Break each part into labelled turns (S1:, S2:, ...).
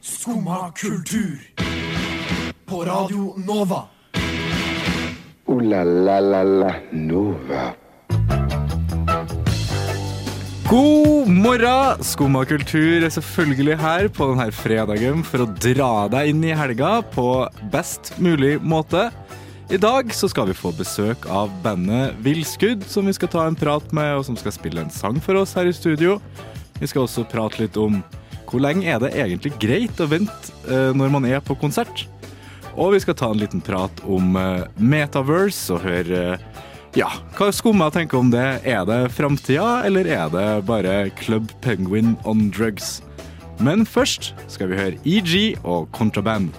S1: Skumma kultur. På Radio Nova.
S2: Ooh la la la la Nova.
S3: God morgen! Skumma kultur er selvfølgelig her på denne fredagen for å dra deg inn i helga på best mulig måte. I dag så skal vi få besøk av bandet Villskudd, som vi skal ta en prat med, og som skal spille en sang for oss her i studio. Vi skal også prate litt om hvor lenge er det egentlig greit å vente eh, når man er på konsert. Og vi skal ta en liten prat om eh, Metaverse og høre eh, ja, hva skumma tenker om det. Er det framtida, eller er det bare Club Penguin on drugs? Men først skal vi høre EG og Contraband.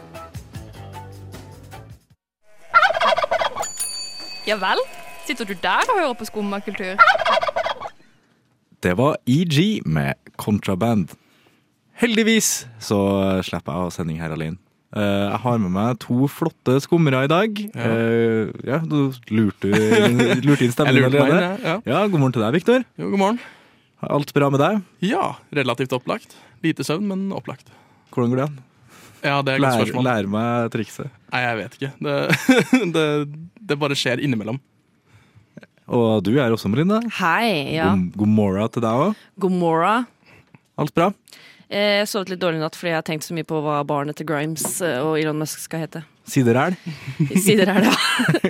S4: Ja vel? Sitter du der og hører på skummakultur?
S3: Det var EG med Contraband. Heldigvis så slipper jeg å ha sending her alene. Eh, Jeg har med meg to flotte skummere i dag. Ja, ja du lurte, lurte
S5: Jeg
S3: inn stemmen
S5: lurte meg inn,
S3: allerede.
S5: jeg. ja.
S3: Ja, god morgen til deg, Viktor.
S5: Jo, god morgen.
S3: Alt bra med deg?
S5: Ja, relativt opplagt. Lite søvn, men opplagt.
S3: Hvordan går det an?
S5: Ja, det er et godt
S3: Lær,
S5: spørsmål.
S3: lær meg trikset.
S5: Nei, jeg vet ikke. Det, det, det bare skjer innimellom.
S3: Og du er også, Melinda.
S6: Hei, ja.
S3: God, god morgen til deg òg.
S6: God morgen.
S3: Alt bra?
S6: Eh, Jeg sovet litt dårlig i natt fordi jeg har tenkt så mye på hva barnet til Grimes eh, og Elon Musk skal hete.
S3: Sideræl?
S6: Sideræl, ja.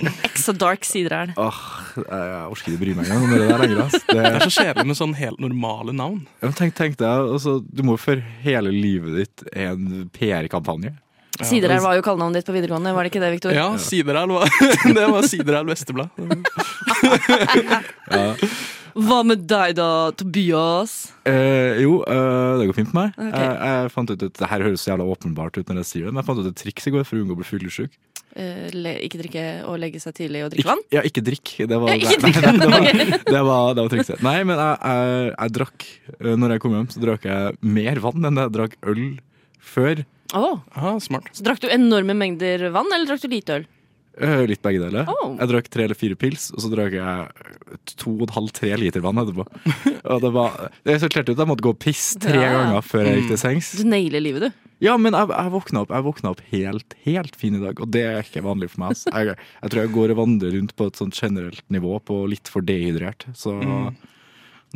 S6: Extra dark sideræl.
S3: Åh, jeg orker ikke bry meg engang om det der lenger. ass.
S5: Det
S3: Det,
S5: er så kjedelig med sånn helt normale navn.
S3: jeg tenk, tenk deg, altså, du må for hele livet ditt en PR-kampanje.
S6: Sideræl var jo kallenavnet ditt på videregående, var det ikke det, Viktor?
S5: Ja, Siderelv var Det var Siderelv Vesteblad.
S6: Hva med deg da, Tobias?
S3: Eh, jo, eh, det går fint med meg.
S6: Ok.
S3: Eh, jeg fant ut et, Det her høres så jævla åpenbart ut når jeg sier det, men jeg fant ut et triks i går for å unngå å bli fyllesyk.
S6: Eh, le ikke drikke og legge seg tidlig og drikke vann?
S3: Ja, ikke drikk. Det var,
S6: Ja, ikke drikk,
S3: nei, det, var, det, var, det var trikset. Nei, men jeg, jeg, jeg drakk eh, Når jeg kom hjem, så drakk jeg mer vann enn jeg drakk øl før.
S6: Å,
S5: Ah, smart.
S6: så drakk du enorme mengder vann, eller drakk du lite øl?
S3: Eh, Litt begge deler.
S6: Oh.
S3: Jeg drakk tre eller fire pils, og så drakk jeg to og en halv, tre liter vann etterpå. Og det var Det resulterte i at jeg måtte gå og pisse tre
S6: Ja. Mm.
S3: ganger før jeg gikk til sengs.
S6: Du nailer livet, du.
S3: Ja, men jeg, jeg, våkna opp, jeg våkna opp helt, helt fin i dag, og det er ikke vanlig for meg. ass. Jeg, jeg tror jeg går og vandrer rundt på et sånt generelt nivå, på litt for dehydrert. Så
S6: Mm.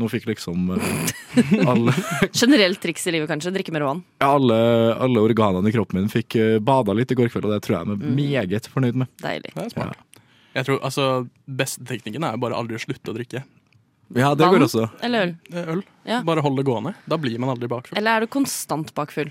S3: nå fikk liksom eh, alle,
S6: Generelt triks i livet, kanskje. Drikke mer vann.
S3: alle, alle organene i kroppen min fikk eh, bada litt i går kveld, og det tror jeg
S6: Mm.
S3: jeg er meget fornøyd med.
S6: Deilig.
S5: Det er smart. Jeg tror, altså, Beste teknikken er bare aldri å slutte å drikke
S3: Ja, det
S6: vann
S3: går også.
S6: eller øl?
S5: eh, øl.
S6: Ja.
S5: Bare hold det gående. Da blir man aldri bakfull.
S6: Eller er du konstant bakfull?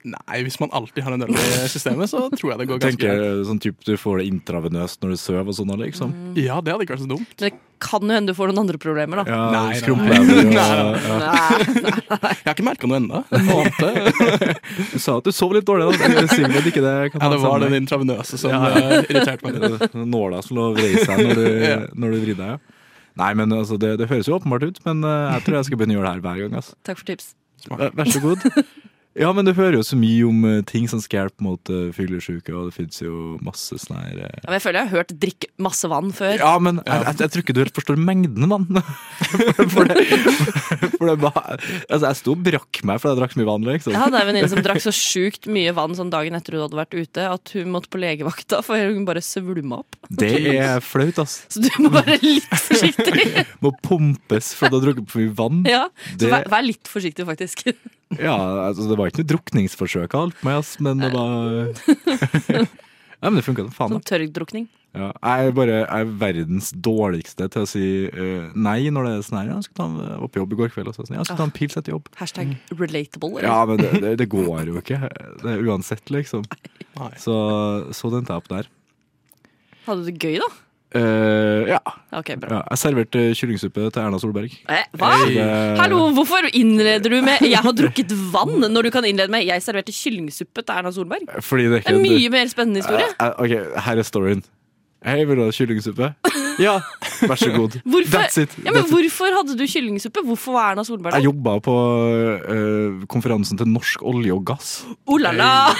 S5: Nei, hvis man alltid har en øl i systemet, så tror jeg det går ganske
S3: Tenker
S5: greit.
S3: sånn typ du får det intravenøst når du sover og sånn, eller liksom.
S7: Mm.
S5: Ja, det hadde ikke vært så dumt.
S6: Men det kan jo hende du får noen andre problemer, da.
S3: Ja,
S5: Nei, nei,
S3: skrumplever og-
S6: Nei.
S5: Jeg har ikke merka noe ennå. En måned.
S3: Du sa at du sov litt dårlig, da. Det er sikkert at ikke det kan
S5: Ja,
S3: ha
S5: det
S3: en
S5: var
S3: sammenheng.
S5: den intravenøse som
S3: Ja.
S5: eh, irriterte meg litt.
S3: Nåla som lå og vrei seg når du,
S5: Ja.
S3: når du vrir deg. Ja. Nei, men altså, det, det høres jo åpenbart ut, men eh, jeg tror jeg skal begynne å gjøre det her hver gang. Altså.
S6: Takk for tips.
S3: Vær, vær så god. Ja, men du hører jo så mye om eh, ting som skal hjelpe mot uh, fyllesyke, og det fins jo masse sånn her eh.
S6: Ja, men jeg føler jeg har hørt 'drikk masse vann' før.
S3: Ja, men jeg, jeg, jeg tror ikke du helt forstår mengden, mann. For, for det, for det var Altså, jeg sto og brakk meg fordi jeg drakk så mye vann, liksom.
S6: Jeg hadde en venninne som drakk så sjukt mye vann sånn dagen etter hun hadde vært ute, at hun måtte på legevakta, for hun bare svulma opp.
S3: Det er flaut, ass.
S6: Så du må være litt forsiktig.
S3: Må pumpes fordi du har drukket for mye vann.
S6: Ja, så
S3: Det-
S6: vær, vær litt forsiktig, faktisk.
S3: Ja, altså det var ikke noe drukningsforsøk av alt meg, ass, men det var Nei, men det funka som faen.
S6: Sånn
S3: da.
S6: tørrdrukning.
S3: Ja, jeg er bare jeg er verdens dårligste til å si eh, nei når det er sånn her. Ja, jeg skal ta en opp jobb i går kveld. Og så er det sånn, ja, jeg skal ta en pils etter jobb.
S6: Hashtag relatable. eller?
S3: Ja, men det, det, det går jo ikke. Det er uansett, liksom.
S5: Nei.
S3: Så, så den tar jeg opp der.
S6: Hadde du det gøy, da?
S3: Eh, ja.
S6: Ok, bra.
S3: ja. Jeg serverte kyllingsuppe til Erna Solberg.
S6: Eh, hva?
S3: Det-
S6: Hallo, hvorfor innleder du med 'jeg har drukket vann' når du kan innlede med 'jeg serverte kyllingsuppe til Erna Solberg'? Det
S3: Fordi det er ikke
S6: er en mye mer spennende historie.
S3: Eh, eh, Ok, her er storyen. Hei, vil du ha kyllingsuppe? Ja, vær så god.
S6: Hvorfor,
S3: That's it.
S6: ja, men
S3: That's it.
S6: hvorfor hadde du kyllingsuppe? Hvorfor var Erna Solberg
S3: Jeg
S6: sånn? der?
S3: jobba på øh, konferansen til Norsk olje og gass.
S6: Oh la la!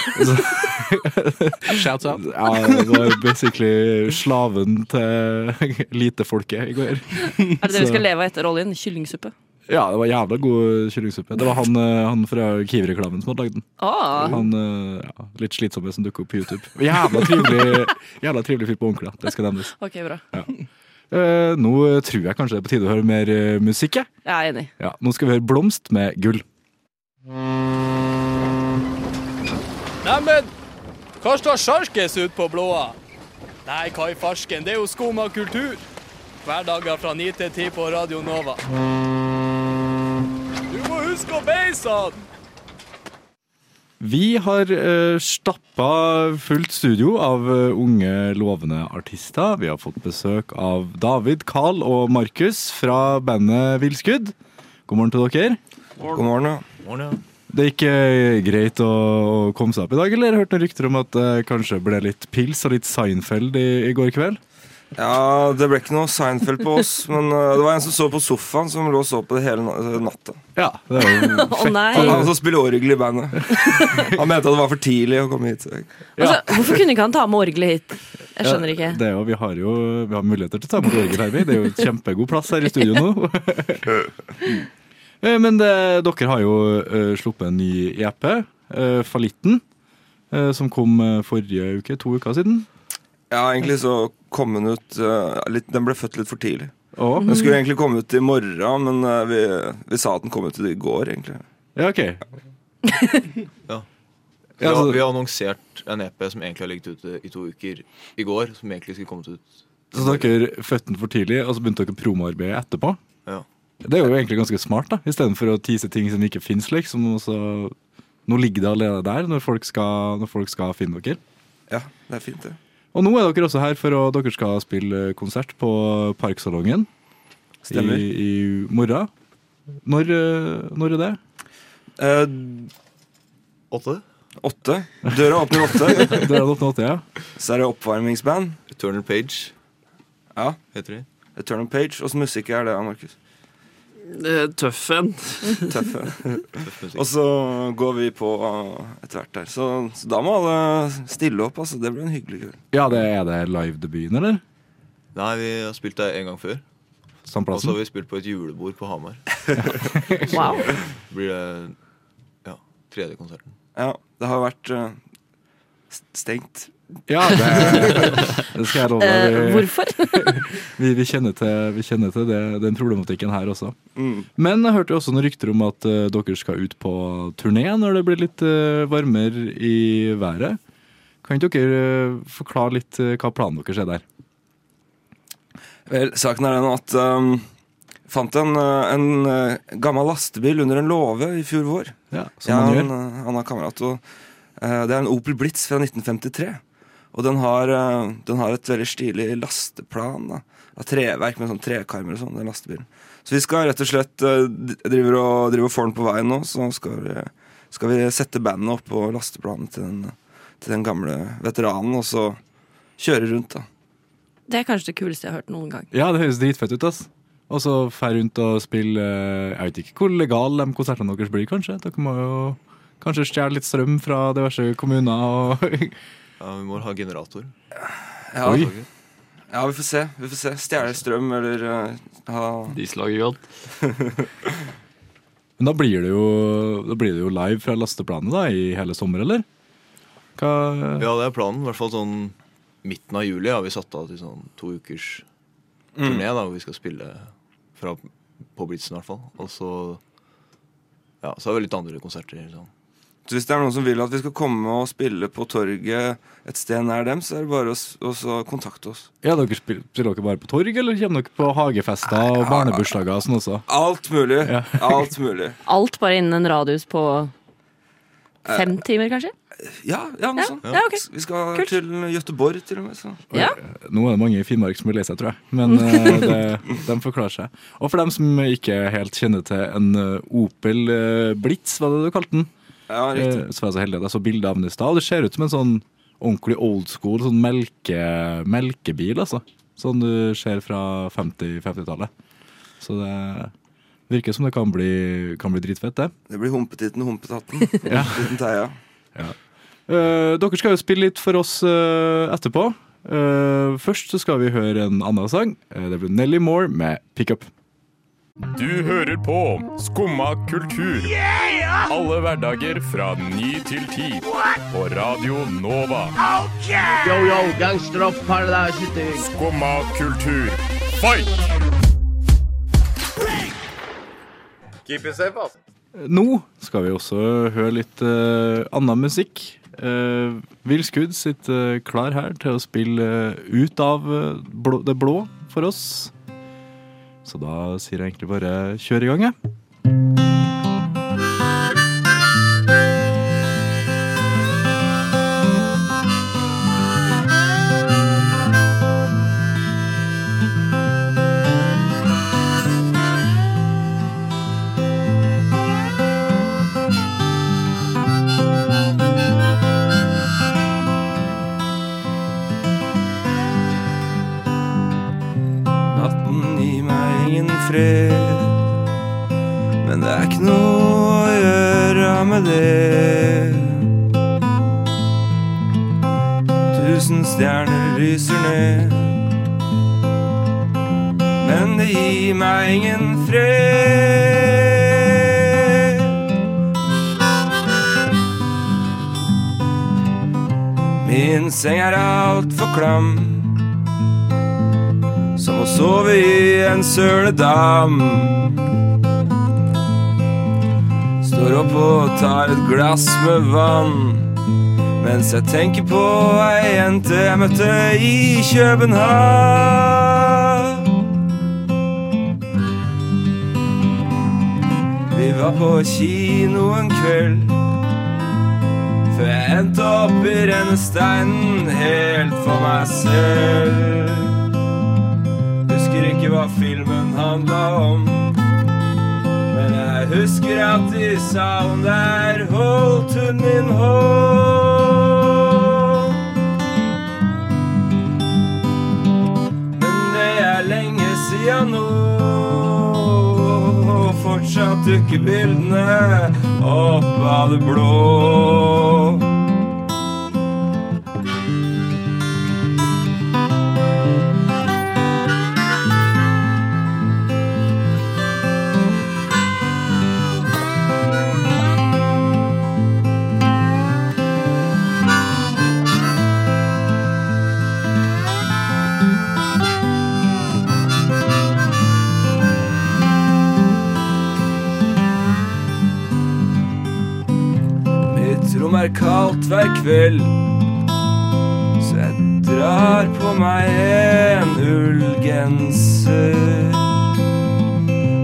S5: Shouts out.
S3: Ja, det var basically slaven til litefolket i går.
S6: Er det det vi
S3: Så-
S6: skal leve av etter oljen? Kyllingsuppe.
S3: Ja, det var jævla god kyllingsuppe. Det var han, eh, han fra Kiwi-reklamen som hadde lagd den.
S6: Ah,
S3: Han eh, ja, litt slitsomme som dukker opp på YouTube. Jævla trivelig, jævla trivelig fyr på ordentlig. da. Det skal nevnes.
S6: ok, bra.
S3: Eh, nå tror jeg kanskje det er på tide å høre mer eh, musikk. jeg.
S6: Jeg er enig.
S3: Ja, nå skal vi høre Blomst med gull.
S5: Neimen, hva står sjarkes ut på blåa? Nei, hva i farsken, det er jo skum av kultur. Hverdager fra 9 til 10 på Radio Nova. Du må huske å beise han!
S3: Vi har uh, stappa fullt studio av eh, unge, lovende artister. Vi har fått besøk av David, Carl og Markus fra bandet Villskudd. God morgen til dere.
S8: God morgen, ja.
S3: Det gikk eh, greit å, å komme seg opp i dag, eller? Jeg hørte noen rykter om at det kanskje ble litt pils og litt Seinfeld i, i går kveld.
S8: Ja, Det ble ikke noe Seinfeld på oss, men eh, det var en som så på sofaen, som lå og så på det hele na- eh, natta.
S3: Ja, det er jo
S6: Å nei!
S8: Han, han som spiller orgel i bandet. Han mente at det var for tidlig å komme hit.
S6: Altså, hvorfor kunne ikke han ta med orgelet hit? Jeg skjønner ikke.
S3: Det er jo, vi har jo vi har muligheter til å ta imot orgel her, vi. Det er jo kjempegod plass her i studio nå. Eh, Men det, dere har jo eh, sluppet en ny EP, eh, Fallitten, eh, som kom eh, forrige uke, to uker siden.
S8: Ja, egentlig så kom den ut eh, litt, Den ble født litt for tidlig.
S3: Og,
S8: Den skulle egentlig komme ut i morgen, men eh, vi, vi sa at den kom ut i går, egentlig.
S3: ja, ok.
S9: Vi
S3: Ja,
S9: har,
S3: altså-
S9: vi har annonsert en EP som egentlig har ligget ute i to uker i går. Som egentlig skulle kommet ut
S3: Så dere fødte den for tidlig, og så begynte dere promoarbeidet etterpå.
S9: Ja.
S3: Det er jo egentlig ganske smart, da. Istedenfor å tease ting som ikke fins, liksom. Og så, nå ligger det allerede der, når folk skal, når folk skal finne dere.
S8: Ja, det er fint, det.
S3: Og nå er dere også her for å dere skal spille konsert på Parksalongen
S8: Stemmer.
S3: i, i morgen. Når, eh, når er det?
S8: Eh,
S9: Åtte?
S8: åtte. Døra åpner åtte.
S3: Det er den 8.8, ja.
S8: Så er det oppvarmingsband.
S9: Eternal Page
S8: Ja.
S9: heter de.
S8: Eternal Page. Åssen musikk er det, Markus?
S10: Tøff en.
S8: Tøff. ja.
S9: Tøff musikk.
S8: Og så går vi på uh, etter hvert der. Så, så da må alle stille opp. altså. Det blir en hyggelig kveld.
S3: Ja, det er det live-debuten, eller?
S9: Nei, vi har spilt der en gang før.
S3: Samme
S9: Og så
S3: plassen?
S9: har vi spilt på et julebord på Hamar.
S6: Wow.
S9: Blir det ja, tredje konserten.
S8: Ja, det har vært uh, st- stengt.
S3: Ja, det, det skal jeg love
S6: Eh,
S3: deg. Vi-
S6: hvorfor?
S3: Vi, vi kjenner til, vi kjenner til det, den problematikken her også.
S8: Mm.
S3: Men jeg hørte jo også noen rykter om at eh, dere skal ut på turné når det blir litt eh, varmere i været. Kan ikke dere eh, forklare litt eh, hva planen deres er der?
S8: Vel, saken er den at um, fant en, uh, en uh, gammel lastebil under en låve i fjor vår.
S3: Ja, som man
S8: ja,
S3: gjør.
S8: Han, uh, han har kamerat, og uh, det er en Opel Blitz fra 1953. Og den har, uh, den har et veldig stilig lasteplan da, av treverk med sånn trekarmer og sånn, den lastebilen. Så vi skal rett og slett uh, d- driver og, driver og får den på veien nå, så skal vi, skal vi sette bandet opp på lasteplanet til den, til den gamle veteranen, og så kjøre rundt da.
S6: Det er kanskje det kuleste jeg har hørt noen gang.
S3: Ja, det høres dritfett ut, ass. Og så fer rundt og spille eh, Jeg vet ikke hvor legal de konsertene deres blir, kanskje. Dere må jo kanskje stjele litt strøm fra diverse kommuner og
S9: Ja, vi må ha generator.
S8: Ja,
S3: Oi.
S8: ja vi får se, vi får se. Stjæle strøm eller uh, ha...
S10: Dieselaggregat.
S3: Men da blir det jo, da blir det jo live fra lasteplanet da, i hele sommer, eller? Hva
S9: Ja, det er planen. I hvert fall sånn midten av juli har vi satt av til sånn to ukers turné, da, hvor vi skal spille fra på Blitzen, i hvert fall. Og så ja, så har vi litt andre konserter. Sånn.
S8: Så hvis det er noen som vil at vi skal komme og spille på torget et sted nær dem, så er det bare å s- å så kontakte oss.
S3: Ja, dere spiller, spiller dere bare på torg, eller kommer dere på hagefester og barnebursdager og sånn også?
S8: Alt mulig. Alt mulig.
S6: Alt bare innen en radius på fem
S3: Eh.
S6: timer, kanskje?
S8: Ja, ja, noe
S6: Ja,
S8: sånt.
S6: ja ok.
S8: S- Vi skal
S6: Kult.
S8: til Gøteborg, til og med. Så.
S6: Ja.
S3: Nå er det mange i Finnmark som blir lei seg, tror jeg. Men eh, det, de forklarer seg. Og for dem som ikke helt kjenner til en eh, Opel eh, Blitz, var det du kalte den?
S8: Ja, riktig.
S3: Eh, så var jeg så heldig at jeg så bilde av den i stad. og Det ser ut som en sånn ordentlig old school sånn melke, melkebil, altså. Sånn du ser fra 50 50-tallet. Så det virker som det kan bli, kan bli dritfett, det.
S8: Det blir Humpetitten Humpetatten. Humpetitten Teia.
S3: Eh, dere skal jo spille litt for oss eh, etterpå. Eh, først så skal vi høre en annen sang. Eh, det blir Nelly Moore med 'Pickup'.
S11: Du hører på Skumma kultur. Alle hverdager fra ny til ti. På Radio Nova.
S12: Yo, yo, gangster of paradise city.
S11: Skumma kultur. Fight!
S13: Keep it safe, ass.
S3: Nå skal vi også høre litt eh, annen musikk. Uh, Will Scood sitter eh, klar her til å spille eh, ut av eh, blå, det blå for oss. Så da sier jeg egentlig bare kjør i gang, jeg.
S8: Natten gir meg ingen fred Men det er ikke noe å gjøre med det Tusen stjerner lyser ned Men det gir meg ingen fred Min seng er alt for klam som å sove i en søledam. Står opp og tar et glass med vann mens jeg tenker på ei jente jeg møtte i København. Vi var på kino en kveld før jeg endte opp i rennesteinen helt for meg selv. Husker ikke hva filmen handla om. Men jeg husker at i salen der holdt hun min hånd. Men det er lenge sia nå, og fortsatt dukker bildene opp av det blå. Mitt rom er kaldt hver kveld Så jeg drar på meg en ullgenser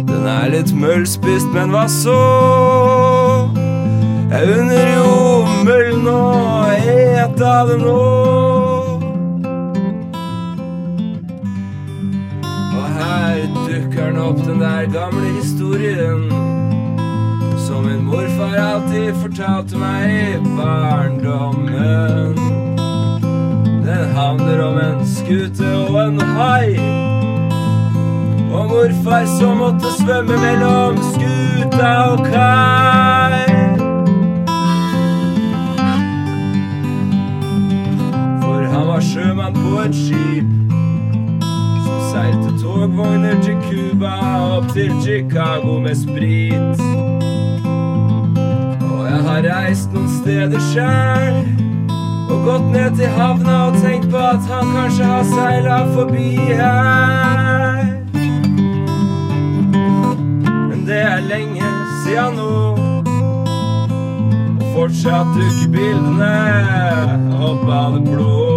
S8: Den er litt møllspist, men hva så? Jeg unner jo møllen å et av dem nå Og her dukker den opp, den der gamle historien som min morfar alltid fortalte meg i barndommen. Den handler om en skute og en hai. Og morfar som måtte svømme mellom skuta og kai. For han var sjømann på et skip som seilte togvogner til Cuba og opp til Chicago med sprit. Og jeg har reist noen steder sjæl. Og gått ned til havna og tenkt på at han kanskje har seila forbi her. Men det er lenge sia nå. Og fortsatt dukker bildene opp av det blå.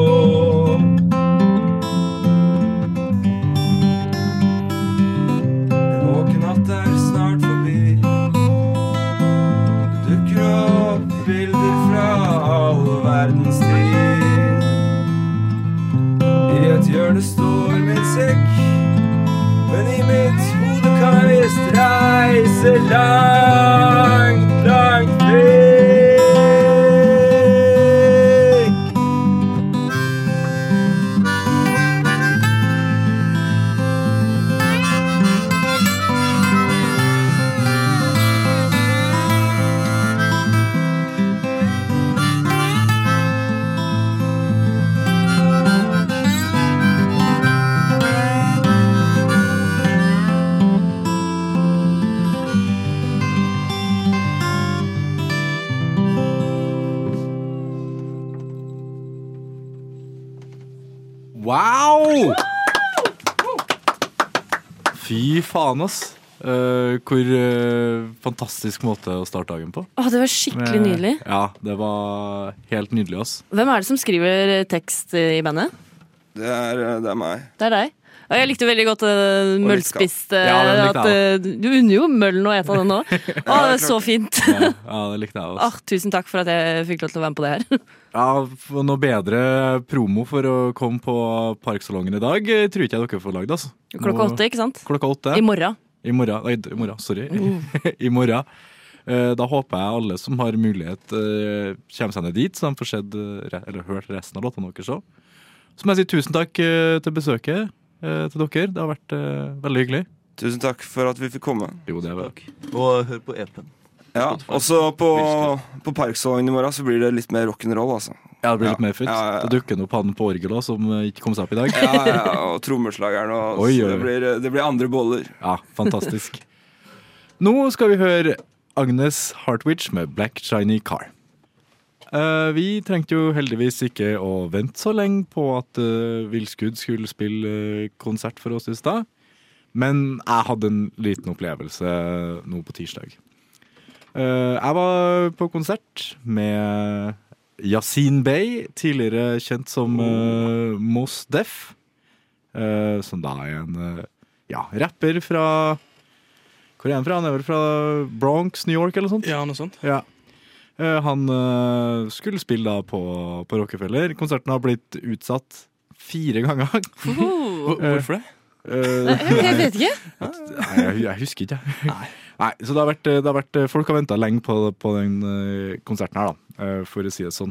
S8: Våken natt er snart forbi. dukker opp bilder fra all verdens tid. I et hjørne står min sekk, men i mitt hode kan jeg visst reise langt, langt vekk.
S3: Wow! Fy faen, ass. Eh, hvor eh, fantastisk måte å starte dagen på.
S6: Åh, det var skikkelig
S3: Eh,
S6: nydelig.
S3: Ja, det var helt nydelig, ass.
S6: Hvem er det som skriver tekst i bandet?
S8: Det er, eh, det er meg.
S6: Det er deg. Og jeg likte veldig godt uh,
S8: Og litt skall.
S6: møllspist. eh,
S3: Ja, den likte
S6: at, eh,
S3: jeg
S6: du unner jo møllen å ete den nå. Å, det var så fint.
S3: Ja, det likte jeg
S6: Ah,
S3: også.
S6: tusen takk for at jeg fikk lov til å være med på det her.
S3: Ja, for Noe bedre promo for å komme på Parksalongen i dag eh, tror ikke jeg dere får lagd. Altså.
S6: Klokka åtte, ikke sant?
S3: Klokka åtte.
S6: I morgen.
S3: I morgen, nei, i morgen sorry.
S6: Mm.
S3: I morgen. Eh, Da håper jeg alle som har mulighet, eh, kommer seg ned dit, så de får sett, eh, re- eller hørt resten av låtene deres òg. Så må jeg si tusen takk eh, til besøket eh, til dere. Det har vært eh, veldig hyggelig.
S8: Tusen takk for at vi fikk komme.
S3: Jo, det er vel.
S9: Og hør på E EP-en.
S8: Ja, også på, på Parksalongen i morgen så blir det litt mer rock'n'roll, altså.
S3: Ja, det blir litt
S8: Ja,
S3: mer futt.
S8: ja, ja.
S3: Det dukker nå opp han på orgelet også, som eh, ikke kom seg opp i dag.
S8: Ja, ja, og trommeslageren og
S3: Oi, oi,
S8: så Det,
S3: oi.
S8: blir, eh, det blir andre boller.
S3: Ja, fantastisk. Nå skal vi høre Agnes Hartwich med Black Shiny Car. Eh, vi trengte jo heldigvis ikke å vente så lenge på at uh, Vilskudd skulle spille eh, konsert for oss i stad. Men jeg hadde en liten opplevelse nå på tirsdag. Eh, jeg var på konsert med Yasin Bey, tidligere kjent som uh, Mos Def. eh, som da er en eh, ja, rapper fra Hvor er han fra? Han er vel fra Bronx, New York eller noe sånt?
S7: Ja, noe sånt.
S3: Ja. Eh, han eh, skulle spille da på, på Rockefeller. Konserten har blitt utsatt fire ganger. Eh,
S6: Hvor-
S7: Eh.
S6: hvorfor
S3: det?
S6: Nei, jeg vet ikke.
S3: Nei, jeg, jeg husker ikke. Nei. Nei, så det har vært, det har vært Folk har venta lenge på, på den eh, konserten her, da, eh, for å si det sånn.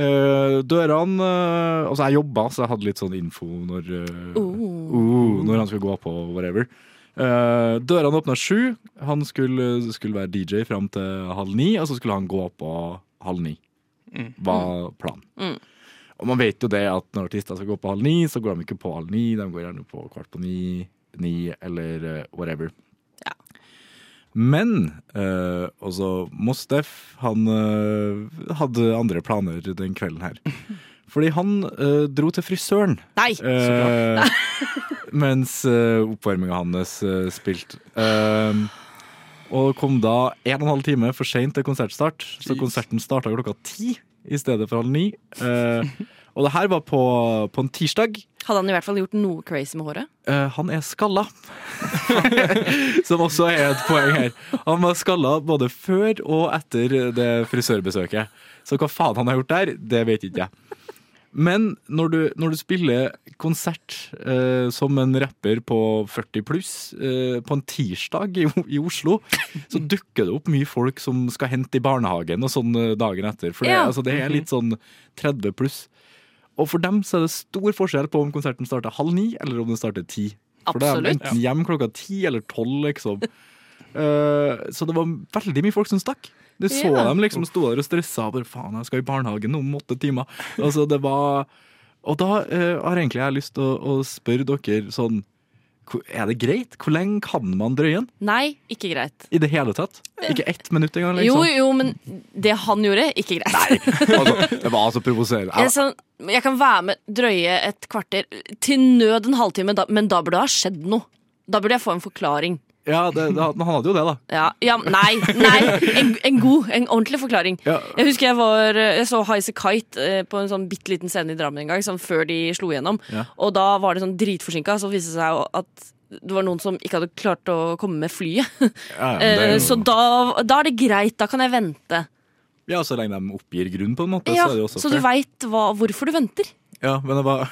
S3: Eh, dørene eh, Altså, jeg jobba, så jeg hadde litt sånn info når eh, oh, Når han skulle gå på, whatever. Eh, dørene åpna sju. Han skulle, skulle være DJ fram til halv ni, og så skulle han gå på halv ni.
S7: Mm.
S3: Var planen.
S7: Mm.
S3: Og man vet jo det at når artister skal gå på halv ni, så går de ikke på halv ni. De går gjerne på kvart på ni, ni eller eh, whatever. Men eh, også Mostef, han eh, hadde andre planer den kvelden her. Fordi han eh, dro til frisøren.
S6: Nei!
S3: Eh, mens eh, oppvarminga hans eh, spilte. Eh, og kom da en og en halv time for seint til konsertstart. Så konserten starta klokka ti i stedet for halv ni. Eh, og det her var på, på en tirsdag.
S6: Hadde han i hvert fall gjort noe crazy med håret?
S3: Eh, han er skalla. Som også er et poeng her. Han var skalla både før og etter det frisørbesøket. Så hva faen han har gjort der, det vet ikke jeg. Men når du, når du spiller konsert eh, som en rapper på 40 pluss eh, på en tirsdag i, O- i Oslo, så dukker det opp mye folk som skal hente i barnehagen og sånn eh, dagen etter. For det,
S7: Ja.
S3: altså, det er litt sånn 30 pluss. Og for dem så er det stor forskjell på om konserten starter halv ni, eller om den starter ti. For da er de
S7: Absolutt.
S3: enten hjem klokka ti eller tolv, liksom. Eh, så det var veldig mye folk som stakk. Du så
S7: Ja.
S3: dem liksom sto der og stressa. og Bare, Faen, jeg skal i barnehagen om åtte timer. Altså, det var Og da eh, har egentlig jeg lyst til å, å spørre dere sånn hvor- Er det greit? Hvor lenge kan man drøye den?
S6: Nei, ikke greit.
S3: I det hele tatt? Ikke ett minutt engang?
S6: Jo,
S3: Liksom.
S6: jo, men det han gjorde, ikke greit.
S3: Det var altså provoserende.
S6: Jeg, er sånn, jeg kan være med drøye et kvarter, til nød en halvtime, da, men da burde det ha skjedd noe. Da burde jeg få en forklaring.
S3: Ja, det, det, han hadde jo det, da.
S6: Ja, ja nei, nei en, en god, en ordentlig forklaring. Jeg husker jeg var Jeg så Highasakite Kite eh, på en sånn bitte liten scene i Drammen en gang, sånn før de slo igjennom.
S14: Ja.
S6: Og da var det sånn dritforsinka, så viste det seg at det var noen som ikke hadde klart å komme med flyet.
S3: Ja, ja, men det er
S6: Eh,
S3: jo-
S6: Så da, da er det greit, da kan jeg vente.
S3: Ja, Så lenge de oppgir grunn, på en måte.
S6: Ja,
S3: så er det jo også
S6: så du
S3: fair.
S6: veit hvorfor du venter.
S3: Ja, men det var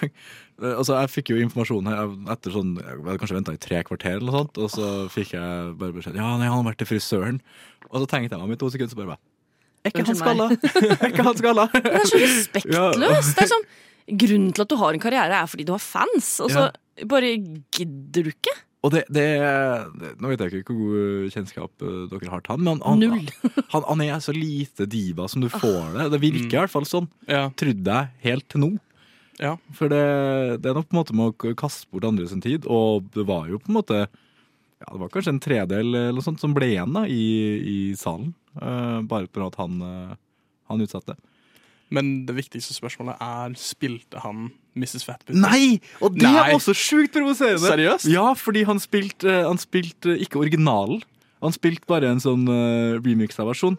S3: Altså, jeg fikk jo informasjon her etter sånn Jeg hadde kanskje venta i tre kvarter, eller noe sånt, og så fikk jeg bare beskjed Ja, nei, han har vært til frisøren. Og så tenkte jeg meg om i to sekunder, så bare bare, Er ikke han skalla? Er ikke han skalla? Det
S6: er så respektløst. Det er sånn, grunnen til at du har en karriere, er fordi du har fans. Og så
S3: Ja.
S6: bare gidder du ikke.
S3: Og det, det, det Nå vet jeg ikke hvor god kjennskap eh, dere har til han, men han,
S6: Null.
S3: han, han er så lite diva som du får det. Det
S6: Mm.
S3: virker i hvert fall sånn, trodde jeg, helt til nå. For det, det er nok på en måte med å k- kaste bort andre sin tid, og det var jo på en måte Ja, det var kanskje en tredel eller noe sånt som ble igjen da, i, i salen, eh, bare på grunn av at han, eh, han utsatte.
S7: Men det viktigste spørsmålet er spilte han Mrs. Fatbit?
S3: Nei! Og det
S7: Nei.
S3: er også sjukt provoserende!
S7: Seriøst?
S3: Ja, fordi han spilte eh, han spilte ikke originalen. Han spilte bare en sånn uh, remix-versjon.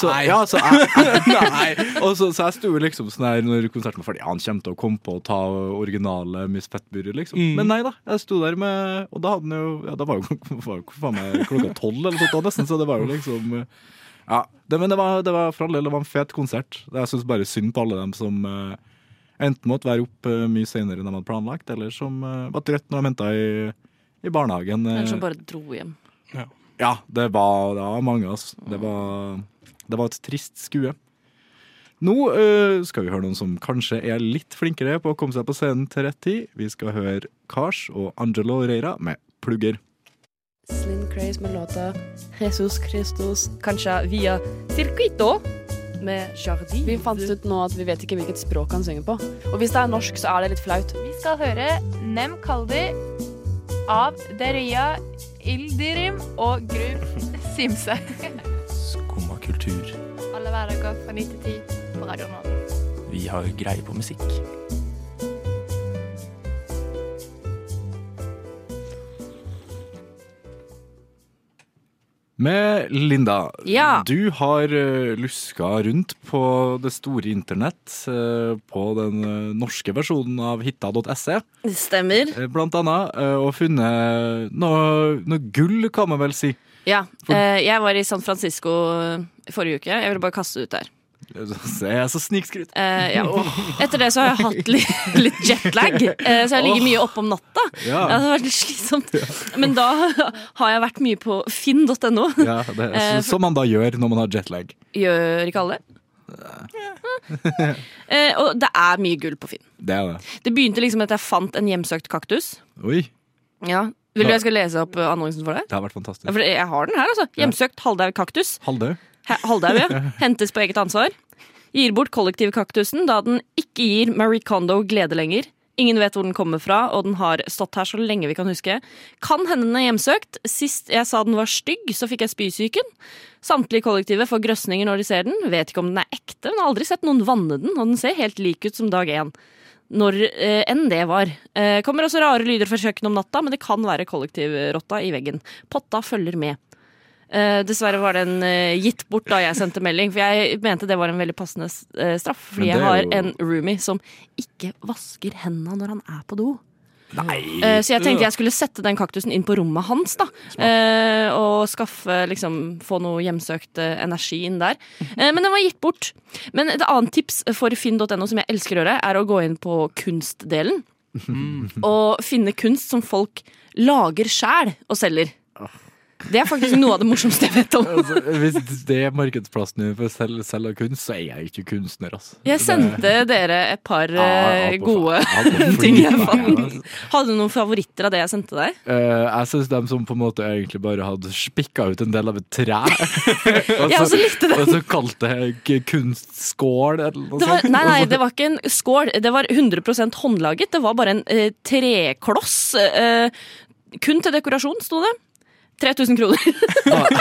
S3: Så,
S7: Nei.
S3: Ja, så jeg, Og så, så jeg sto jo liksom sånn her når konserten var ferdig. Ja, han kommer til å komme på å ta originale Miss Fettbury, liksom.
S7: Mm.
S3: Men nei da. Jeg sto der med Og da hadde han jo Ja, da var jo var jo faen meg klokka tolv eller noe sånt, nesten, så det var jo liksom eh, Ja. Det, men det var, det var for all del det var en fet konsert. Jeg syns bare synd på alle dem som eh, enten måtte være opp eh, mye senere enn de hadde planlagt, eller som eh, var trøtt når de henta i, i barnehagen. eh.
S6: Eller som bare dro hjem.
S3: Ja, det var, det var mange, altså. Det var, det var et trist skue. Nå øh, skal vi høre noen som kanskje er litt flinkere på å komme seg på scenen til rett tid. Vi skal høre Kars og Angelo Reira med 'Plugger'.
S14: Slim Craze med låta Jesus Christus Kanskje via Circuito med Jardi. Vi fant ut nå at vi vet ikke hvilket språk han synger på. Og hvis det er norsk, så er det litt flaut.
S15: Vi skal høre Nem Kaldi av Deria Ildirim og Gru Simse.
S16: Skumma kultur.
S15: Alle hverdager fra 9 til 10 på Radio Nova.
S16: Vi har greie på musikk.
S3: Med Linda.
S6: Ja.
S3: Du har øh, luska rundt på det store internett, øh, på den øh, norske versjonen av hitta.se.
S6: Det stemmer.
S3: eh, Blant annet, øh, og funnet noe, noe gull, kan man vel si.
S6: Ja. eh, jeg var i San Francisco eh, forrige uke. Jeg ville bare kaste det ut der.
S3: Se, jeg er så snikskryt.
S6: Eh, ja. Etter det så har jeg hatt litt, litt jetlag, eh, så jeg ligger mye oppe om natta.
S3: Ja.
S6: Det har vært litt slitsomt. Men da har jeg vært mye på finn.no.
S3: Ja, det, så,
S6: Eh, for-
S3: som man da gjør når man har jetlag.
S6: Gjør ikke alle.
S3: det
S6: Eh, og det er mye gull på Finn.
S3: er det.
S6: Det begynte liksom med at jeg fant en hjemsøkt kaktus.
S3: Oi,
S6: Ja. Vil du jeg skal lese opp eh, annonsen for deg?
S3: det har vært
S6: Ja,
S3: fantastisk.
S6: for jeg har den her, altså.
S3: Ja.
S6: Hjemsøkt halvdaud kaktus.
S3: Halvdau.
S6: He- Halvdaud, ja. Hentes på eget ansvar. Gir bort kollektivkaktusen da den ikke gir Marie Kondo glede lenger. Ingen vet hvor den kommer fra, og den har stått her så lenge vi kan huske. Kan hende den er hjemsøkt. Sist jeg sa den var stygg, så fikk jeg spysyken. Samtlige i kollektivet får grøsninger når de ser den. Vet ikke om den er ekte, men har aldri sett noen vanne den, og den ser helt lik ut som dag én. Når eh, enn det var. Eh, kommer også rare lyder fra kjøkkenet om natta, men det kan være kollektivrotta i veggen. Potta følger med. Eh, dessverre var den eh, gitt bort da jeg sendte melding, for jeg mente det var en veldig passende eh, straff.
S17: Men
S6: Fordi
S17: det
S6: jeg
S17: er
S6: har
S17: jo-
S6: en roomie som ikke vasker hendene når han er på do.
S3: Nei.
S6: Eh, så jeg tenkte jeg skulle sette den kaktusen inn på rommet hans, da. Eh, og skaffe liksom Få noe hjemsøkt eh, energi inn der. Eh, men den var gitt bort. Men et annet tips for finn.no som jeg elsker å gjøre, er å gå inn på kunstdelen.
S17: Mm.
S6: Og finne kunst som folk lager sjæl og selger. Det er faktisk noe av det morsomste jeg vet om.
S3: Altså, hvis det er markedsplassen din for selv, selv av kunst, så er jeg ikke kunstner, altså.
S6: Jeg sendte dere et par
S3: Ja, ja,
S6: eh,
S3: på
S6: gode
S3: faen. Ja, på
S6: ting jeg
S3: faen,
S6: fant. Hadde du noen favoritter av det jeg sendte deg?
S3: Eh, jeg syns de som på en måte egentlig bare hadde spikka ut en del av et tre og
S6: Jeg også likte den.
S3: Og så kalt det k- kunstskål eller noe
S6: Det var,
S3: sånt.
S6: nei, nei,
S3: Og så-
S6: det var ikke en skål. Det var 100 håndlaget. Det var bare en eh, trekloss. eh, kun til dekorasjon, sto det. 3000 kroner.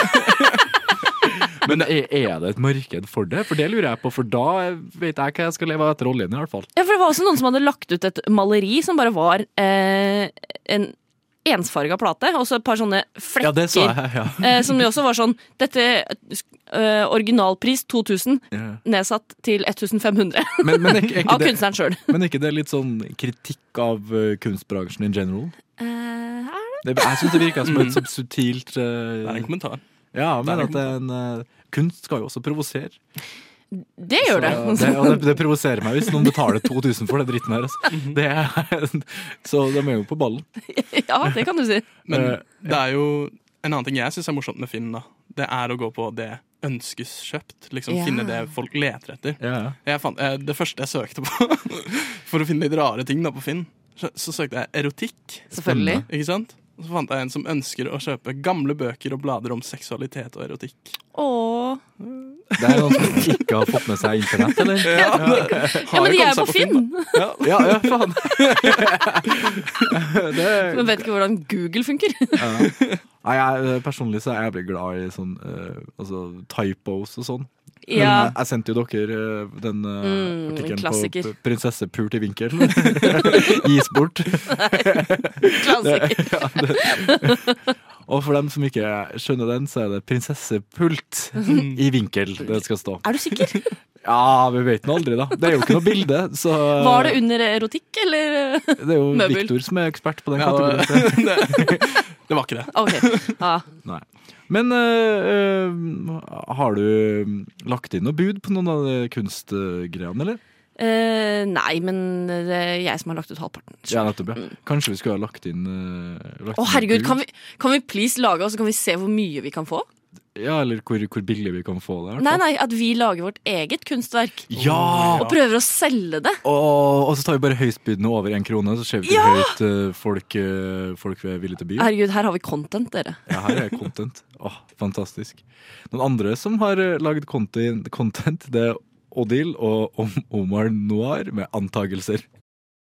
S3: Men er, er det et marked for det? For det lurer jeg på, for da vet jeg hva jeg skal leve av etter oljen, i hvert fall.
S6: Ja, for det var også noen som hadde lagt ut et maleri som bare var eh, en ensfarga plate, og så et par sånne flekker.
S3: Ja, det så jeg, ja.
S6: eh, som jo også var sånn Dette eh, originalpris 2000,
S3: Ja.
S6: nedsatt til 1500.
S3: Men- men er ikke- er ikke
S6: Av
S3: det-
S6: kunstneren sjøl.
S3: Men er ikke det litt sånn kritikk av eh, kunstbransjen in general?
S6: Eh,
S3: Mm. Det, jeg syns det virka som et sånt subtilt Det er en kommentar. Ja, men
S7: Det er en
S3: at det er en, eh, kunst skal jo også provosere.
S6: Det gjør det.
S3: Så det, og det, det provoserer meg hvis noen betaler 2000 for den dritten her. Altså. Det er, så de er jo på ballen.
S6: ja, det kan du si.
S7: Men
S3: Eh,
S7: det er jo en annen ting jeg syns er morsomt med Finn, da. Det er å gå på det ønskes kjøpt. Liksom
S6: Ja.
S7: Finne det folk leter etter.
S3: Ja, ja.
S7: Jeg fant, eh, det første jeg søkte på for å finne litt rare ting da på Finn, så, så søkte jeg erotikk.
S6: Selvfølgelig.
S7: Ikke sant? Og Så fant jeg en som ønsker å kjøpe gamle bøker og blader om seksualitet og erotikk.
S6: Åh.
S3: Det er noen som ikke har fått med seg internett, eller?
S7: Ja.
S6: Ja, men de er på Finn!
S3: Ja, ja, ja faen. Det,
S6: Men vet ikke hvordan Google funker.
S3: ja. Nei, jeg, personlig så er jeg veldig glad i sånn eh, altså, typos og sånn. Men
S6: Ja.
S3: Jeg, jeg sendte jo dere eh, den eh,
S6: Mm, en
S3: artikkelen
S6: klassiker.
S3: på p- 'Prinsessepult i vinkel'. Gis bort.
S6: klassiker.
S3: Det- ja, det- Og for dem som ikke skjønner den, så er det 'prinsessepult
S6: Mhm.
S3: i vinkel' det skal stå.
S6: Er du sikker?
S3: Ja, vi vet nå aldri, da. Det er jo ikke noe bilde, så
S6: Var det under erotikk, eller
S3: Det er jo
S6: møbel?
S3: Victor som er ekspert på den
S7: Ja, det-
S3: kategorien.
S7: Det var ikke det.
S6: Ok, ja.
S3: Nei. Men øh, øh, har du lagt inn noe bud på noen av de kunstgreiene, eller?
S6: Eh, nei, men det er jeg som har lagt ut halvparten.
S3: Ja, nettopp, ja. Mm. Kanskje vi skulle ha lagt inn øh, lagt
S6: Å
S3: inn
S6: herregud,
S3: bud?
S6: kan vi, kan vi please lage oss, så kan vi se hvor mye vi kan få?
S3: Ja, eller hvor, hvor billig vi kan få det. i hvert
S6: Nei,
S3: fall.
S6: nei, at vi lager vårt eget kunstverk.
S3: Ja!
S6: Og prøver å selge det.
S3: Og, og så tar vi bare høystbydende over én krone, så ser vi hvor
S6: Ja!
S3: høyt øh, folk, øh, folk er villige til å by.
S6: Herregud, her har vi content, dere.
S3: Ja, her er content. Åh, fantastisk. Noen andre som har eh, lagd content, content, det er Odil og Om- Omar Noir med antagelser.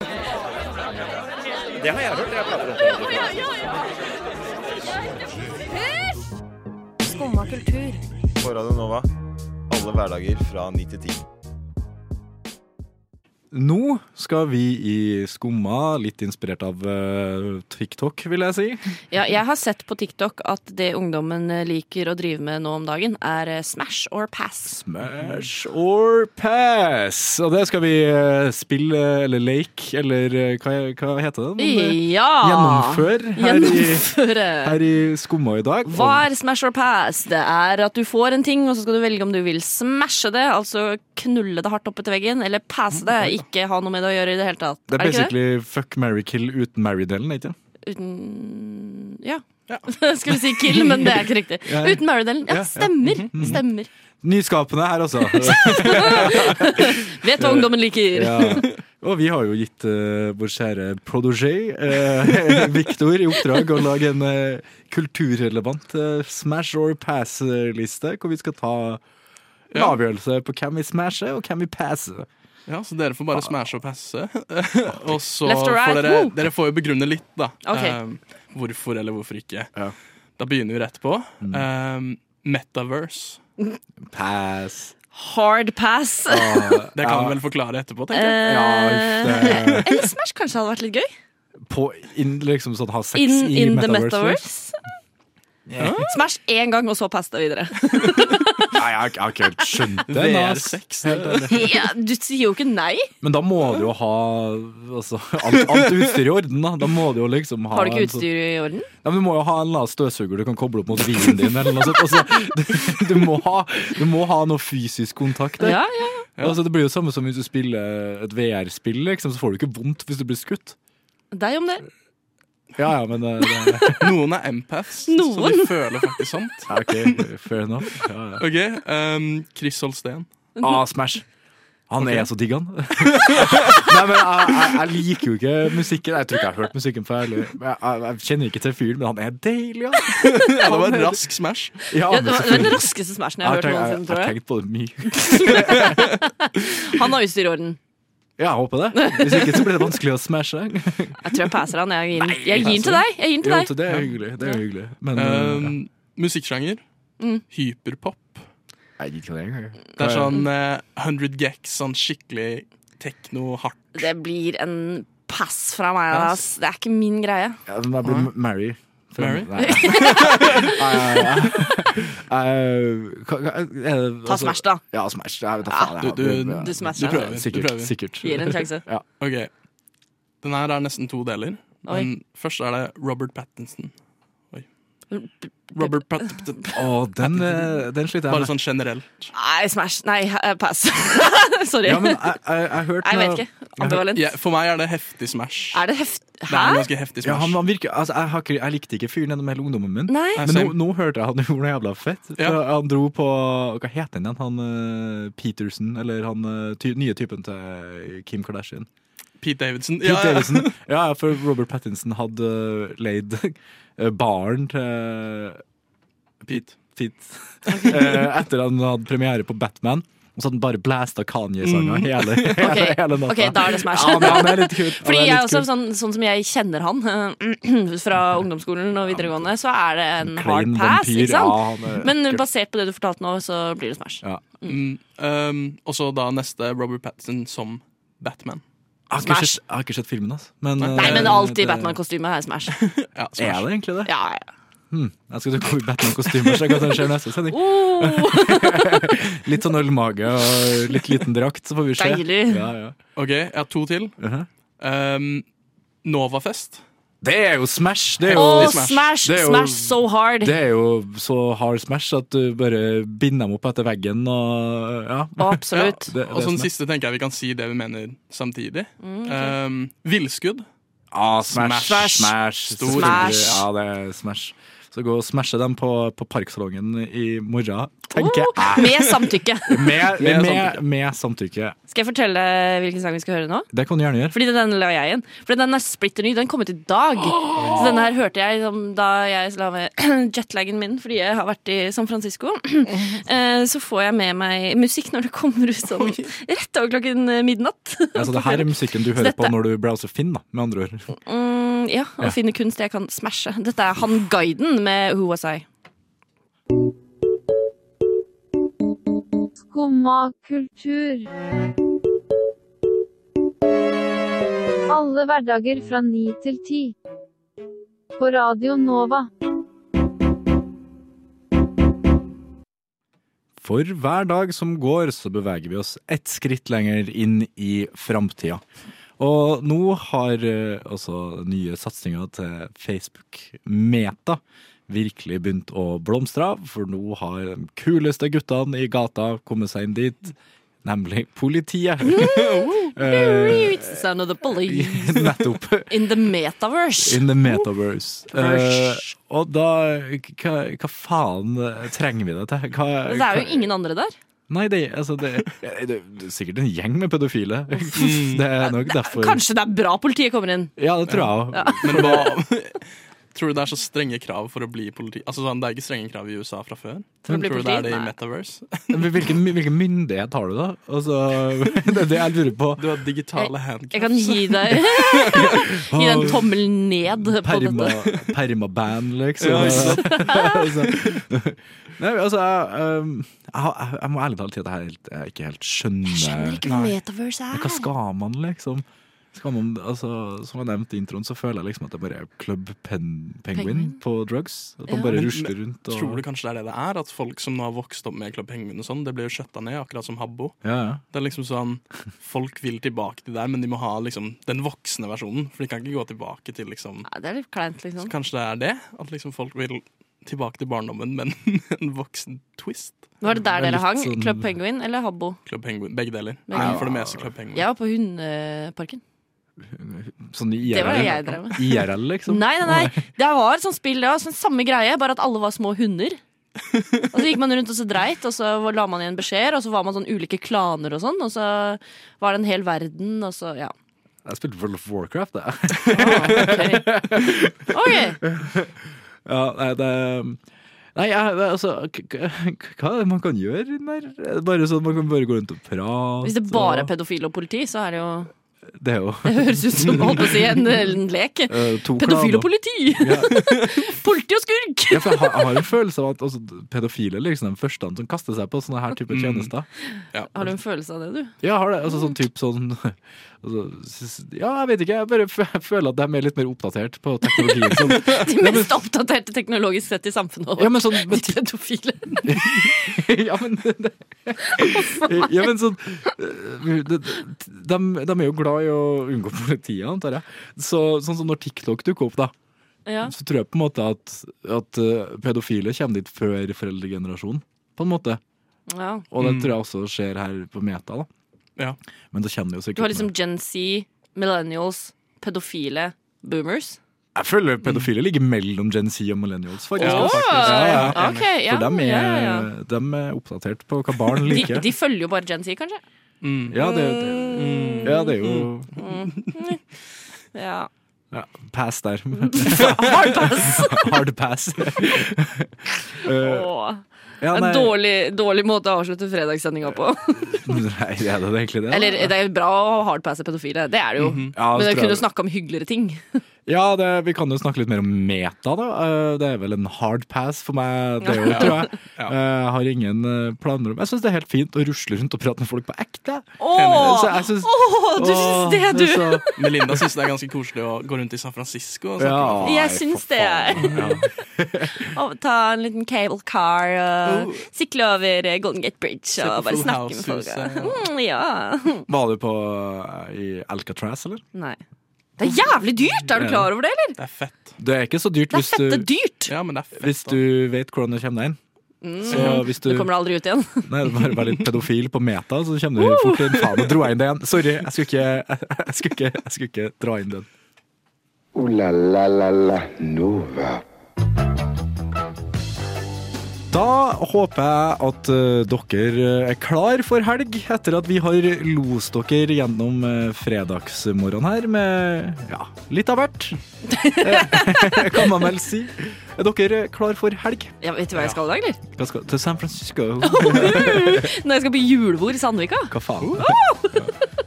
S13: Det har jeg hørt. Jeg prater om
S17: Skumma kultur.
S13: På Radio Nova. Alle hverdager fra 9 til 10.
S3: Nå skal vi i Skumma, litt inspirert av eh, TikTok, vil jeg si.
S6: Ja, jeg har sett på TikTok at det ungdommen eh, liker å drive med nå om dagen, er eh, smash or pass.
S3: Smash or pass. Og det skal vi eh, spille, eller lake, eller eh, hva, hva heter det?
S6: Ja!
S3: Gjennomføre her,
S6: Gjennomføre.
S3: i- her i Skumma i dag.
S6: Hva er smash or pass? Det er at du får en ting, og så skal du velge om du vil smashe det, altså knulle det hardt opp etter veggen, eller passe det, ikke ha noe med det å gjøre i det hele tatt.
S3: Mm. Det er
S6: ikke det?
S3: basically fuck, marry, kill uten marry-delen, ikke sant?
S6: Uten Ja. Jeg skulle si kill, men det er ikke riktig.
S3: Ja.
S6: Uten Maridalen.
S3: Ja, Mm-hmm. ja.
S6: Ja, stemmer. Stemmer.
S3: Nyskapende her, altså.
S6: Vet hva ungdommen
S3: Eh,
S6: liker.
S3: Ja. Og vi har jo gitt eh, vår kjære prodigy, eh, Victor, i oppdrag å lage en eh, kulturrelevant eh, smash or pass-liste, hvor vi skal ta en
S7: Ja.
S3: avgjørelse på hvem vi smasher, og hvem vi passer.
S7: Ja, Så dere får bare smashe og passe. og så
S3: Left or right,
S7: får dere,
S3: woo!
S7: dere får jo begrunne litt, da.
S3: Ok.
S7: Ehm, hvorfor eller hvorfor ikke. Da begynner vi rett på. Ehm, metaverse.
S3: Pass.
S6: Hard pass.
S3: Ah.
S7: det kan vi vel forklare etterpå, tenker jeg.
S6: Eh, Eller Smash kanskje hadde vært litt gøy?
S3: På in, liksom sånn ha sex
S6: In,
S3: i
S6: in the
S3: metaverse.
S6: metaverse? Smash én gang, og så pass det videre.
S3: Nei, jeg har ikke- jeg har ikke helt skjønt det. men, ass.
S7: VR6,
S3: Helt ærlig.
S6: Ja, du sier jo ikke nei.
S3: Men da må du jo ha altså, alt, alt utstyr i orden, da. Da må du jo liksom ha
S6: Har du ikke
S3: en sånn-
S6: utstyr i orden?
S3: Ja, men du må jo ha en la- støvsuger du kan koble opp mot bilen din. Eller noe sånt. Altså, du, du, må ha, du må ha noe fysisk kontakt. der.
S6: Ja, ja,
S3: Altså, det blir jo samme som hvis du spiller et VR-spill, liksom, så får du ikke vondt hvis du blir skutt.
S6: Deg om det.
S3: Ja, ja, men eh, det,
S7: Noen er empaths, så de
S6: Noen.
S7: føler faktisk sånt.
S3: ja, OK, fair enough. Ja, ja.
S7: Ok, ehm, Chris Holsten.
S3: Ah, Smash. Han er så digg, han. Nei, men jeg, jeg, jeg liker jo ikke musikken. Jeg tror ikke jeg har hørt musikken før. eller- Jeg, jeg, jeg kjenner ikke til fyren, men han er deilig, han.
S7: Ja, det var en
S3: Han er-
S7: rask smash.
S3: Ja,
S6: Ja, det
S3: men
S6: var det var den
S3: Ah, selvfølgelig.
S6: raskeste smashen jeg har hørt
S3: tenkt-
S6: noensinne,
S3: Jeg
S6: tror
S3: har
S6: jeg.
S3: tenkt på det mye.
S6: Han har utstyr i orden.
S3: Ja, jeg håper det. Hvis ikke så blir det vanskelig å smashe.
S6: Jeg tror jeg passer han. Jeg gir den, jeg gir den til
S7: passer
S6: deg. Jeg gir den til
S3: Jo,
S6: deg.
S3: til det er hyggelig. Det er hyggelig. Men eh,
S7: Ehm, Musikksjanger.
S6: Mm.
S7: Hyperpop.
S3: jeg liker det engang.
S7: Det er sånn eh, 100 Gex, sånn skikkelig tekno, hardt
S6: Det blir en pass fra meg. Ass. Det er ikke min greie.
S3: ja, men Jeg blir Mary. For-
S7: Mary?
S3: Nei. Nei, nei, nei. Eh, hva- hva- er det-
S6: Ta
S3: altså-
S6: Smash, da.
S3: Ja, Smash. Jeg vet da faen. jeg.
S7: Du, du,
S3: Ja.
S6: du smasher. Du prøver, du
S3: Sikkert.
S7: prøver.
S3: sikkert.
S6: Gir en sjanse.
S3: Ja.
S7: Ok, Den her er nesten to deler.
S6: Oi.
S7: Men først er det Robert Pattinson. Oi. Robert Pattinson.
S3: Å, den, eh, den sliter jeg
S7: Bare
S3: med.
S7: sånn generelt.
S6: Nei, Smash. Nei, eh, pass. Sorry.
S7: Ja, men
S3: jeg, hørte
S6: Jeg vet ikke. Ambivalent.
S7: Ja, for meg er det heftig smash.
S6: Er det heft...
S7: Det er en
S6: Hæ?
S7: ganske heftig
S3: Ja,
S7: smash.
S3: han, han virker, altså, jeg, har ikke, jeg likte ikke fyren gjennom hele ungdommen min.
S6: Nei.
S3: Men nå,
S7: Same.
S3: nå hørte jeg han gjorde noe jævla fett. For Han dro på Hva heter han igjen? Han eh, Peterson, eller han eh, ty, nye typen til Kim Kardashian.
S7: Pete Davidson.
S3: Pete
S7: Ja, ja.
S3: Davidson. Ja, ja, for Robert Pattinson hadde eh, leid eh, baren til eh,
S7: Pete.
S3: Pete. Eh, Etter han hadde premiere på Batman. Så den bare blæsta Kanye-sanger
S6: Mm.
S3: hele, hele,
S6: Ok,
S3: hele natta.
S6: ok, da er det Smash.
S3: Ja, men han er litt kul. Han
S6: Fordi
S3: er
S6: jeg
S3: litt
S6: også,
S3: kul.
S6: sånn, sånn som jeg kjenner han eh, fra ungdomsskolen og videregående, så er det en sånn hard
S7: Klein
S6: pass.
S7: vampyr,
S6: ikke sant?
S7: ja, han er
S6: Men
S7: ekkel.
S6: basert på det du fortalte nå, så blir det Smash.
S7: Mm. Um, og så da neste Robert Pattinson som Batman.
S3: Jeg har ikke sett- jeg har ikke sett filmen, altså. Men,
S6: Nei,
S3: eh,
S6: men
S3: det-
S6: alltid Batman-kostyme er Smash.
S3: Er det egentlig det?
S6: Ja, ja.
S3: Hm, jeg skal gå i Batman-kostyme og se hva som skjer neste sending. litt sånn ølmage og litt liten drakt, så får vi se. Ja, ja.
S7: Ok, jeg har to til.
S3: Uh-huh.
S7: um, Novafest.
S3: Det er jo Smash! Det er jo,
S6: Åh, Smash,
S3: det er jo-
S6: Smash so hard.
S3: Det er jo så hard Smash at du bare binder dem opp etter veggen og ja.
S7: Ja,
S3: Ja, det- det er
S7: og så den
S3: Smash.
S7: siste tenker jeg vi kan si det vi mener samtidig.
S3: Mm, ok.
S7: um, villskudd.
S3: Ja, Smash,
S7: Smash.
S3: Smash.
S7: Stor.
S3: selvfølgelig.
S7: Smash.
S3: Ja, det er Smash. Så gå og smashe dem på, på Parksalongen i morgen, tenker jeg.
S6: Med samtykke.
S3: Med, med,
S7: Med samtykke.
S3: med, samtykke.
S6: Skal jeg fortelle hvilken sang vi skal høre nå?
S3: Det kan du gjerne gjøre.
S6: Fordi den la jeg inn. For den er splitter ny. Den kom ut i dag. Så denne her hørte jeg liksom, da jeg la med jetlagen min fordi jeg har vært i San Francisco. Eh, Så får jeg med meg musikk når det kommer ut sånn rett over klokken eh, midnatt.
S3: Altså, det her er musikken du
S6: Så
S3: hører på
S6: dette-
S3: når du browser Finn, da, med andre ord.
S6: Mm, ja, og
S3: Ja.
S6: finne kunst jeg kan smashe. Dette er han guiden med Who Was I.
S17: Skumma kultur. Alle hverdager fra ni til ti. På Radio Nova.
S3: For hver dag som går, så beveger vi oss ett skritt lenger inn i framtida. Og nå har eh, altså nye satsinger til Facebook, Meta, virkelig begynt å blomstre av. For nå har de kuleste guttene i gata kommet seg inn dit, nemlig politiet. Eh,
S6: It's the sound of the police
S3: Nettopp.
S6: in the metaverse.
S3: In the metaverse. Eh,
S6: Verse.
S3: og da hva, hva faen eh, trenger vi det til? Hva,
S6: Men Altså, Det er
S3: hva-
S6: jo ingen andre der.
S3: Nei, det, altså, det, det, det er sikkert en gjeng med pedofile. Det er nok derfor.
S6: Kanskje det er bra politiet kommer inn.
S3: Ja, det tror jeg òg.
S6: Ja.
S7: Men hva Tror du det er så strenge krav for å bli politi? Altså sånn, Det er ikke strenge krav i USA fra før.
S3: For å
S7: Tror
S3: bli
S7: du det
S3: politi?
S7: er det i
S3: Nei.
S7: Metaverse?
S3: Men Hvilken, hvilken myndighet har du, da? Altså, det er det jeg lurer på.
S7: Du har digitale handcuffs.
S6: Jeg kan gi deg Gi deg en tommel ned på
S3: Perma,
S6: dette.
S3: permaband, liksom.
S7: Ja, ikke sant?
S3: Altså, Nei, altså, jeg, um, jeg, har- jeg, jeg må ærlig talt si at jeg, helt, jeg ikke helt skjønner Jeg
S6: skjønner ikke hva metaverse er.
S3: Hva skal man, liksom? Skal man, altså, som jeg nevnte i introen, så føler jeg liksom at det bare er Club Pen Penguin
S7: Penguin.
S3: på drugs. At man
S7: Ja.
S3: bare
S7: Men-
S3: rusler
S7: men
S3: rundt og
S7: Tror du kanskje det er det det er? At folk som nå har vokst opp med Club Penguin og sånn, det blir jo skjøtta ned, akkurat som Habbo.
S3: Ja, ja.
S7: Det er liksom sånn Folk vil tilbake til der, men de må ha liksom den voksne versjonen. For de kan ikke gå tilbake til liksom
S6: Det er litt kleint,
S7: Så
S6: liksom.
S7: kanskje det er det? At liksom folk vil tilbake til barndommen, men en voksen twist?
S6: Var det der
S7: Det er
S6: dere
S7: litt
S6: hang?
S7: sånn-
S6: Club Penguin eller Habbo?
S7: Club Penguin, Begge deler.
S6: Begge
S7: Men
S6: deler.
S7: for det meste Club Penguin.
S6: Jeg var på Hundeparken.
S3: Sånn i IRL,
S6: Det var det jeg drev med.
S3: IRL, liksom?
S6: Nei, nei, nei. Det var et sånt spill, det var sånn samme greie, bare at alle var små hunder. Og så gikk man rundt og så dreit, og så la man igjen beskjeder, og så var man sånn ulike klaner og sånn, og så var det en hel verden, og så ja.
S3: Jeg spilte World of Warcraft, jeg. ja, nei, det um, Nei, jeg, det, altså k- k- Hva er det man kan gjøre i den der? Er det Bare sånn Man kan bare gå rundt og prate.
S6: Hvis det bare er
S3: og,
S6: pedofile og politi, så er det jo
S3: Det er jo
S6: Det høres ut som holdt på å si, en, en lek.
S3: Eh, to
S6: Pedofil
S3: klaner.
S6: og politi! politi og skurk!
S3: ja, for jeg, har, jeg har en følelse av at altså, pedofile er liksom de første som kaster seg på sånne her type tjenester.
S6: Har du en følelse av det, du?
S3: Ja, jeg har det. Altså sånn
S6: Mm.
S3: type sånn altså, s- Ja, jeg vet ikke. Jeg bare f jeg føler at de er litt mer oppdatert på teknologien. Sånn.
S6: De mest oppdaterte teknologisk sett i samfunnet.
S3: Ja, men sånn-
S6: de pedofile.
S3: ja, men Ja, men sånn eh, de, de, de er jo glad i å unngå politiet, antar jeg. Så, sånn som når TikTok dukker opp, da.
S6: Ja.
S3: Så tror jeg på en måte at, at eh, pedofile kommer dit før foreldregenerasjonen, på en måte.
S6: Ja.
S3: Og det tror jeg også skjer her på Meta, da. Men da kjenner jo
S6: Du har
S3: sikkert
S6: liksom Gen Z, millennials, pedofile, boomers.
S3: Jeg føler pedofile ligger mellom Gen Z og millennials, faktisk.
S6: Åh, ok, ja,
S3: For dem er,
S6: ja, ja,
S3: dem er oppdatert på hva barn
S6: De,
S3: liker.
S6: de følger jo bare Gen Z, kanskje?
S3: Ja, det, det, ja, det er jo
S6: Mm. Ja.
S3: ja, Pass der.
S6: Mm. Hard pass.
S3: Hard pass. Eh,
S6: Åh.
S3: Ja,
S6: en
S3: nei.
S6: dårlig, dårlig måte å avslutte fredagssendinga på.
S3: Nei, er det egentlig det?
S6: Eller det er bra å hardpasse pedofile, det er det jo.
S3: Mhm. Ja,
S6: Men
S3: det tror
S6: jeg
S3: jeg.
S6: kunne snakke om hyggeligere ting.
S3: Ja, det, vi kan jo snakke litt mer om meta, da. Eh, Det er vel en hard pass for meg, det òg,
S6: Ja.
S3: tror jeg. Eh, Jeg har ingen eh, planer om Jeg syns det er helt fint å rusle rundt og prate med folk på ekte.
S6: Åh,
S3: Så jeg synes-
S6: åh, du
S3: Åh,
S6: syns det, du!
S3: så-
S7: Melinda syns det er ganske koselig å gå rundt i San Francisco. Og
S3: Ja,
S7: snakke med folk.
S6: Jeg syns det. Og ta en liten cable car og sikle over eh, Golden Gate Bridge
S3: Se på
S6: og bare
S3: Full
S6: snakke med folk.
S3: House-huset.
S6: Mm, ja.
S3: Var du på eh, i Alcatraz, eller?
S6: Nei. Det er jævlig dyrt! Er du klar over det, eller?
S7: Det er fett.
S3: Det er ikke så dyrt
S6: Det er
S3: hvis du,
S6: fette dyrt!
S7: Ja, men det er
S3: hvis du vet hvordan du kommer deg inn.
S6: Mm.
S3: Så hvis du-
S6: du kommer aldri ut igjen.
S3: Nei, det var bare litt pedofil på meta, så kommer du fort inn. Faen, nå dro jeg inn det igjen. Sorry, jeg skulle ikke, jeg skulle ikke, jeg skulle ikke dra inn den.
S2: Ooh la la la la Nova.
S3: Da håper jeg at eh, dere er klar for helg, etter at vi har lost dere gjennom uh, fredagsmorgen her med ja, litt av hvert. Eh, kan man vel si. Er dere klar for helg?
S6: Ja, vet du hva jeg skal i dag, eller?
S3: Hva skal, til San Francisco.
S6: Når jeg skal på julebord i Sandvika.
S3: Hva faen?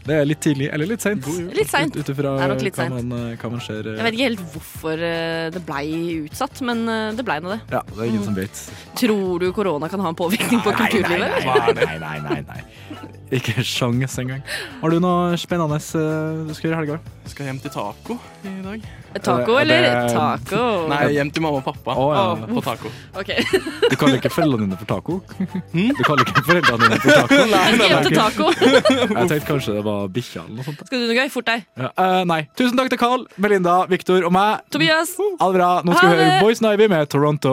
S3: Det er litt tidlig, eller litt seint.
S6: Litt Oh. sent.
S3: Mm. Ut ifra
S6: Det er nok litt
S3: hva,
S6: sent.
S3: man, eh, hva man ser. eh,
S6: Jeg vet ikke helt hvorfor eh, det blei utsatt, men eh, det blei nå det.
S3: Ja, det er ingen som vet.
S6: Tror du korona kan ha en påvirkning på
S3: Nei, nei,
S6: kulturlivet?
S3: nei,
S6: eller?
S3: Nei, nei, nei, nei. Ikke sjans engang. Har du noe spennende eh, du skal gjøre i helga?
S7: Skal hjem til taco i dag.
S6: Taco,
S3: Eh, det-
S6: eller? Taco.
S7: Nei, hjem til mamma og pappa
S3: Å, ja.
S7: på taco.
S6: Ok.
S3: Du kaller ikke foreldrene dine for taco?
S6: Hmm?
S3: Du kaller ikke foreldrene dine for taco?
S6: Jeg skal hjem til taco.
S3: Jeg tenkte kanskje det var bikkja eller noe sånt.
S6: Skal du noe gøy? Fort deg.
S3: Ja, eh, nei. Tusen takk til Carl, Melinda, Victor og meg.
S6: Tobias.
S3: Ha det bra. Nå
S6: Ha
S3: skal vi høre
S6: det.
S3: Boys Nivy med Toronto.